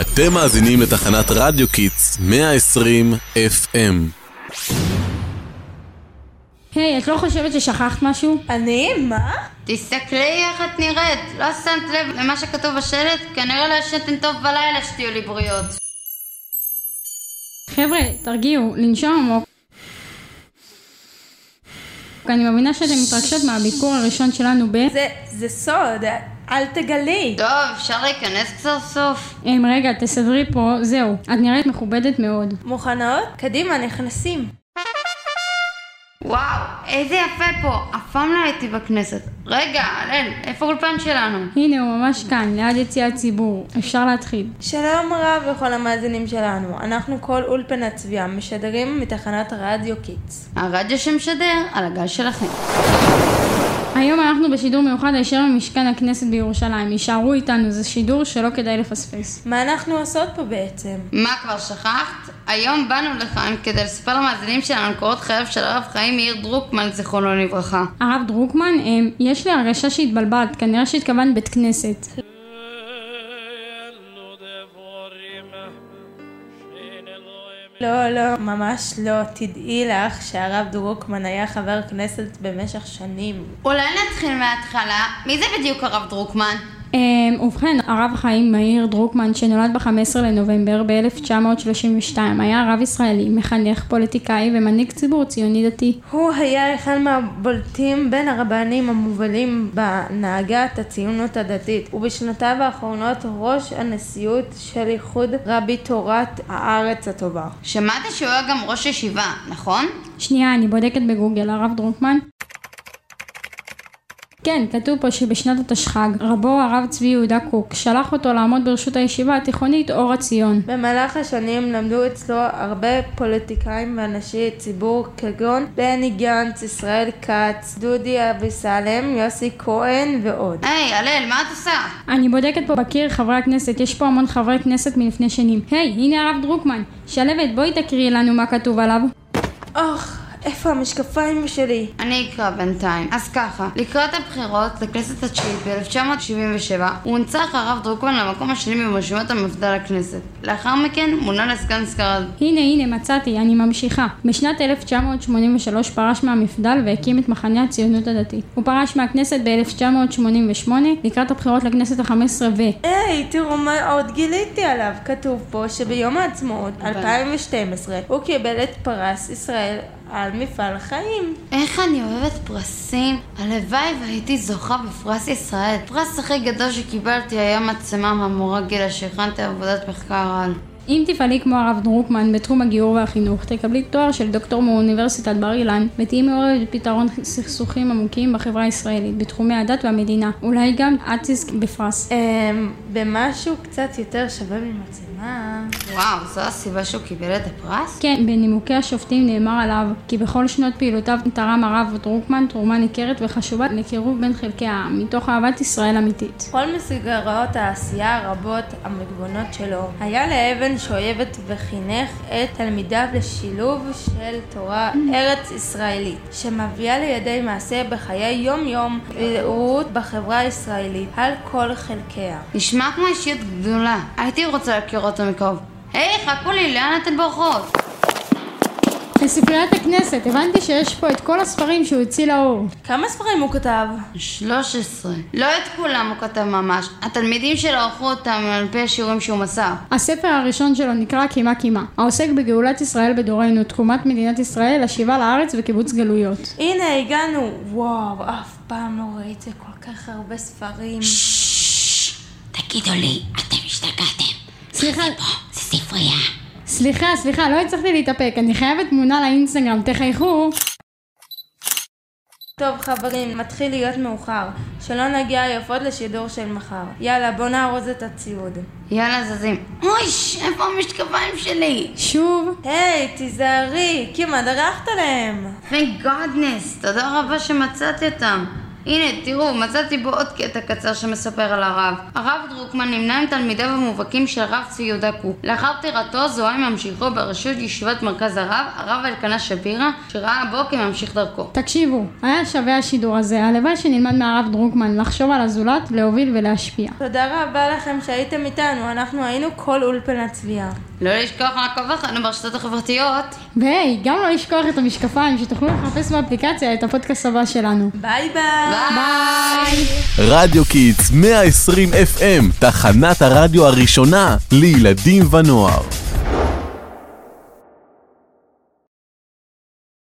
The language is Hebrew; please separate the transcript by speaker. Speaker 1: אתם מאזינים לתחנת רדיו קיטס 120 FM.
Speaker 2: היי, את לא חושבת ששכחת משהו?
Speaker 3: אני? מה?
Speaker 4: תסתכלי איך את נראית. לא שמת לב למה שכתוב בשלט? כנראה לא ישנתן טוב בלילה שתהיו לי בריאות.
Speaker 2: חבר'ה, תרגיעו, לנשום עמוק. אני מבינה שאתן מתרגשות מהביקור הראשון שלנו ב...
Speaker 3: זה, זה סוד, אל תגלי.
Speaker 4: טוב, אפשר להיכנס סוף סוף?
Speaker 2: אמ, רגע, תסדרי פה, זהו. את נראית מכובדת מאוד.
Speaker 3: מוכנות? קדימה, נכנסים.
Speaker 4: וואו, איזה יפה פה. אף פעם לא הייתי בכנסת. רגע, אלן, איפה האולפן שלנו?
Speaker 2: הנה, הוא ממש כאן, ליד יציא הציבור. אפשר להתחיל.
Speaker 3: שלום רב לכל המאזינים שלנו, אנחנו כל אולפנת צביעה משדרים מתחנת רדיו קיטס.
Speaker 4: הרדיו שמשדר על הגל שלכם.
Speaker 2: היום אנחנו בשידור מיוחד הישר ממשכן הכנסת בירושלים. יישארו איתנו, זה שידור שלא כדאי לפספס.
Speaker 3: מה אנחנו עושות פה בעצם?
Speaker 4: מה כבר שכחת? היום באנו לכאן כדי לספר למאזינים שלנו קורות חייו של הרב חיים מאיר דרוקמן, זיכרונו לברכה.
Speaker 2: הרב דרוקמן, אמ, יש לי הרגשה שהתבלבלת, כנראה שהתכוונת בית כנסת.
Speaker 3: לא, לא, ממש לא. תדעי לך שהרב דרוקמן היה חבר כנסת במשך שנים.
Speaker 4: אולי נתחיל מההתחלה? מי זה בדיוק הרב דרוקמן?
Speaker 2: אמ, ובכן, הרב חיים מאיר דרוקמן, שנולד ב-15 לנובמבר ב-1932, היה רב ישראלי, מחנך, פוליטיקאי ומנהיג ציבור ציוני דתי.
Speaker 3: הוא היה אחד מהבולטים בין הרבנים המובלים בהנהגת הציונות הדתית, ובשנותיו האחרונות ראש הנשיאות של איחוד רבי תורת הארץ הטובה.
Speaker 4: שמעתי שהוא היה גם ראש ישיבה, נכון?
Speaker 2: שנייה, אני בודקת בגוגל, הרב דרוקמן. כן, כתוב פה שבשנת התשח"ג, רבו הרב צבי יהודה קוק, שלח אותו לעמוד ברשות הישיבה התיכונית אור עציון.
Speaker 3: במהלך השנים למדו אצלו הרבה פוליטיקאים ואנשי ציבור כגון בני גנץ, ישראל כץ, דודי אביסלם, יוסי כהן ועוד.
Speaker 4: היי, הלל, מה את עושה?
Speaker 2: אני בודקת פה בקיר חברי הכנסת, יש פה המון חברי כנסת מלפני שנים. היי, הנה הרב דרוקמן. שלוות, בואי תקריאי לנו מה כתוב עליו.
Speaker 3: אוח, איפה המשקפיים שלי?
Speaker 4: אני אקרא בינתיים. אז ככה, לקראת הבחירות לכנסת התשיעית ב-1977, הונצח הרב דרוקמן למקום השני ברשימת המפד"ל לכנסת. לאחר מכן מונה לסגן סגרד.
Speaker 2: הנה הנה מצאתי, אני ממשיכה. בשנת 1983 פרש מהמפד"ל והקים את מחנה הציונות הדתית. הוא פרש מהכנסת ב-1988 לקראת הבחירות לכנסת החמש עשרה ו...
Speaker 3: היי, תראו מה עוד גיליתי עליו. כתוב פה שביום העצמאות 2012 הוא קיבל את פרס ישראל על מפעל חיים.
Speaker 4: איך אני אוהבת פרסים. הלוואי והייתי זוכה בפרס ישראל. הפרס הכי גדול שקיבלתי היה מצלמה מהמורה גילה שהכנתי עבודת מחקר על.
Speaker 2: אם תפעלי כמו הרב דרוקמן בתחום הגיור והחינוך, תקבלי תואר של דוקטור מאוניברסיטת בר אילן, ותהיי מעורבת בפתרון סכסוכים עמוקים בחברה הישראלית, בתחומי הדת והמדינה. אולי גם את תזכי בפרס.
Speaker 3: אמ... במשהו קצת יותר שווה ממצלמה.
Speaker 4: וואו, זו הסיבה שהוא קיבל את הפרס?
Speaker 2: כן, בנימוקי השופטים נאמר עליו כי בכל שנות פעילותיו תרם הרב דרוקמן תרומה ניכרת וחשובה לקירוב בין חלקי העם, מתוך אהבת ישראל אמיתית.
Speaker 3: כל מסגרות העשייה הרבות המגוונות שלו היה לאבן שואבת וחינך את תלמידיו לשילוב של תורה ארץ ישראלית, שמביאה לידי מעשה בחיי יום יום רעות בחברה הישראלית על כל חלקיה.
Speaker 4: נשמע כמו אישיות גדולה. הייתי רוצה להכיר אותו מקרוב. היי, חכו לי, לאן אתן בורחות?
Speaker 2: לספריית הכנסת, הבנתי שיש פה את כל הספרים שהוא הוציא לאור.
Speaker 3: כמה ספרים הוא כתב?
Speaker 4: 13. לא את כולם הוא כתב ממש. התלמידים שלו ערכו אותם על פי השיעורים שהוא מסר.
Speaker 2: הספר הראשון שלו נקרא קימה קימה, העוסק בגאולת ישראל בדורנו, תקומת מדינת ישראל, השיבה לארץ וקיבוץ גלויות.
Speaker 3: הנה הגענו! וואו, אף פעם לא ראיתי כל כך הרבה ספרים.
Speaker 4: תגידו לי, אתם השתגעתם.
Speaker 2: סליחה,
Speaker 4: זה ספרייה.
Speaker 2: סליחה, סליחה, לא הצלחתי להתאפק, אני חייבת תמונה לאינסטגרם, תחייכו.
Speaker 3: טוב חברים, מתחיל להיות מאוחר. שלא נגיע יפות לשידור של מחר. יאללה, בוא נארוז את הציוד.
Speaker 4: יאללה, זזים. אויש, איפה המשקפיים שלי?
Speaker 2: שוב,
Speaker 3: היי, תיזהרי, כמעט דרכת להם.
Speaker 4: Thank godness, תודה רבה שמצאתי אותם. הנה, תראו, מצאתי בו עוד קטע קצר שמספר על הרב. הרב דרוקמן נמנה עם תלמידיו המובהקים של הרב צבי יהודה קוק. לאחר פטירתו זוהה עם ממשיכו בראשות ישיבת מרכז הרב, הרב אלקנה שפירא, שראה בו כממשיך דרכו.
Speaker 2: תקשיבו, היה שווה השידור הזה, הלוואי שנלמד מהרב דרוקמן לחשוב על הזולת, להוביל ולהשפיע.
Speaker 3: תודה רבה לכם שהייתם איתנו, אנחנו היינו כל אולפנת צביעה.
Speaker 4: לא לשכוח לעקוב אחרינו ברשתות החברתיות.
Speaker 2: והי, גם לא לשכוח את המשקפיים, שתוכלו לחפש באפליקציה את הפודקאסט הבא שלנו.
Speaker 3: ביי ביי!
Speaker 4: ביי!
Speaker 1: רדיו קיטס 120 FM, תחנת הרדיו הראשונה לילדים ונוער.